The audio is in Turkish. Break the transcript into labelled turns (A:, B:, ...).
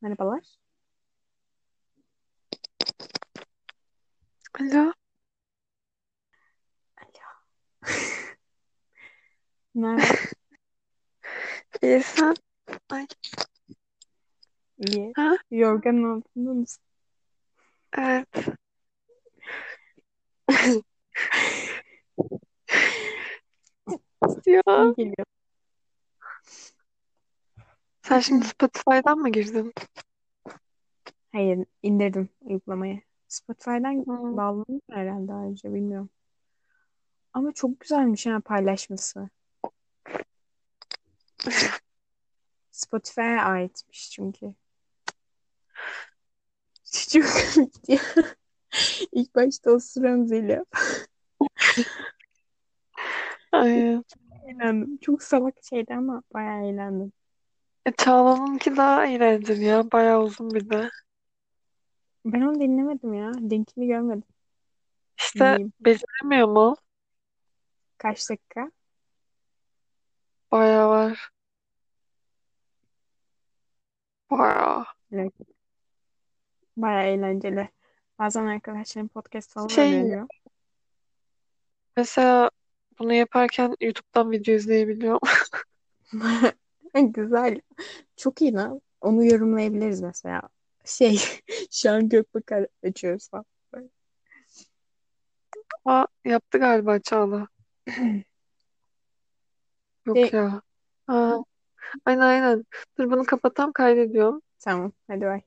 A: Merhabalar.
B: Alo.
A: Alo. Merhaba.
B: İyi sen? Ay,
A: İyi.
B: ha?
A: Yorganın altında mısın?
B: Evet. Ya.
A: İyi geliyor.
B: Sen şimdi Spotify'dan mı girdin?
A: Hayır, indirdim uygulamayı. Spotify'dan
B: Hmm.
A: bağlanıyor herhalde ayrıca bilmiyorum. Ama çok güzelmiş ha paylaşması. Spotify'a aitmiş çünkü. Çok komikti ya. İlk başta o Ramzi'yle.
B: Ay.
A: Eğlendim. Çok salak şeydi ama bayağı eğlendim.
B: E, Çağla'nınki daha eğlenceli ya. Bayağı uzun bir de.
A: Ben onu dinlemedim ya. Linkini görmedim.
B: İşte
A: Dinleyeyim.
B: beceremiyor mu?
A: Kaç dakika?
B: Bayağı var. Bayağı.
A: Merak Bayağı eğlenceli. Bazen arkadaşlarım podcast falan
B: Şey
A: öneriyor.
B: mesela bunu yaparken YouTube'dan video izleyebiliyorum.
A: Güzel. Çok iyi lan. Onu yorumlayabiliriz mesela. Şey, şu an Gökbakar açıyoruz falan. Böyle.
B: Aa, yaptı galiba Çağla. Yok
A: Şey,
B: ya. Ha. Aynen aynen. Dur bunu kapatam kaydediyorum.
A: tamam. Hadi bay.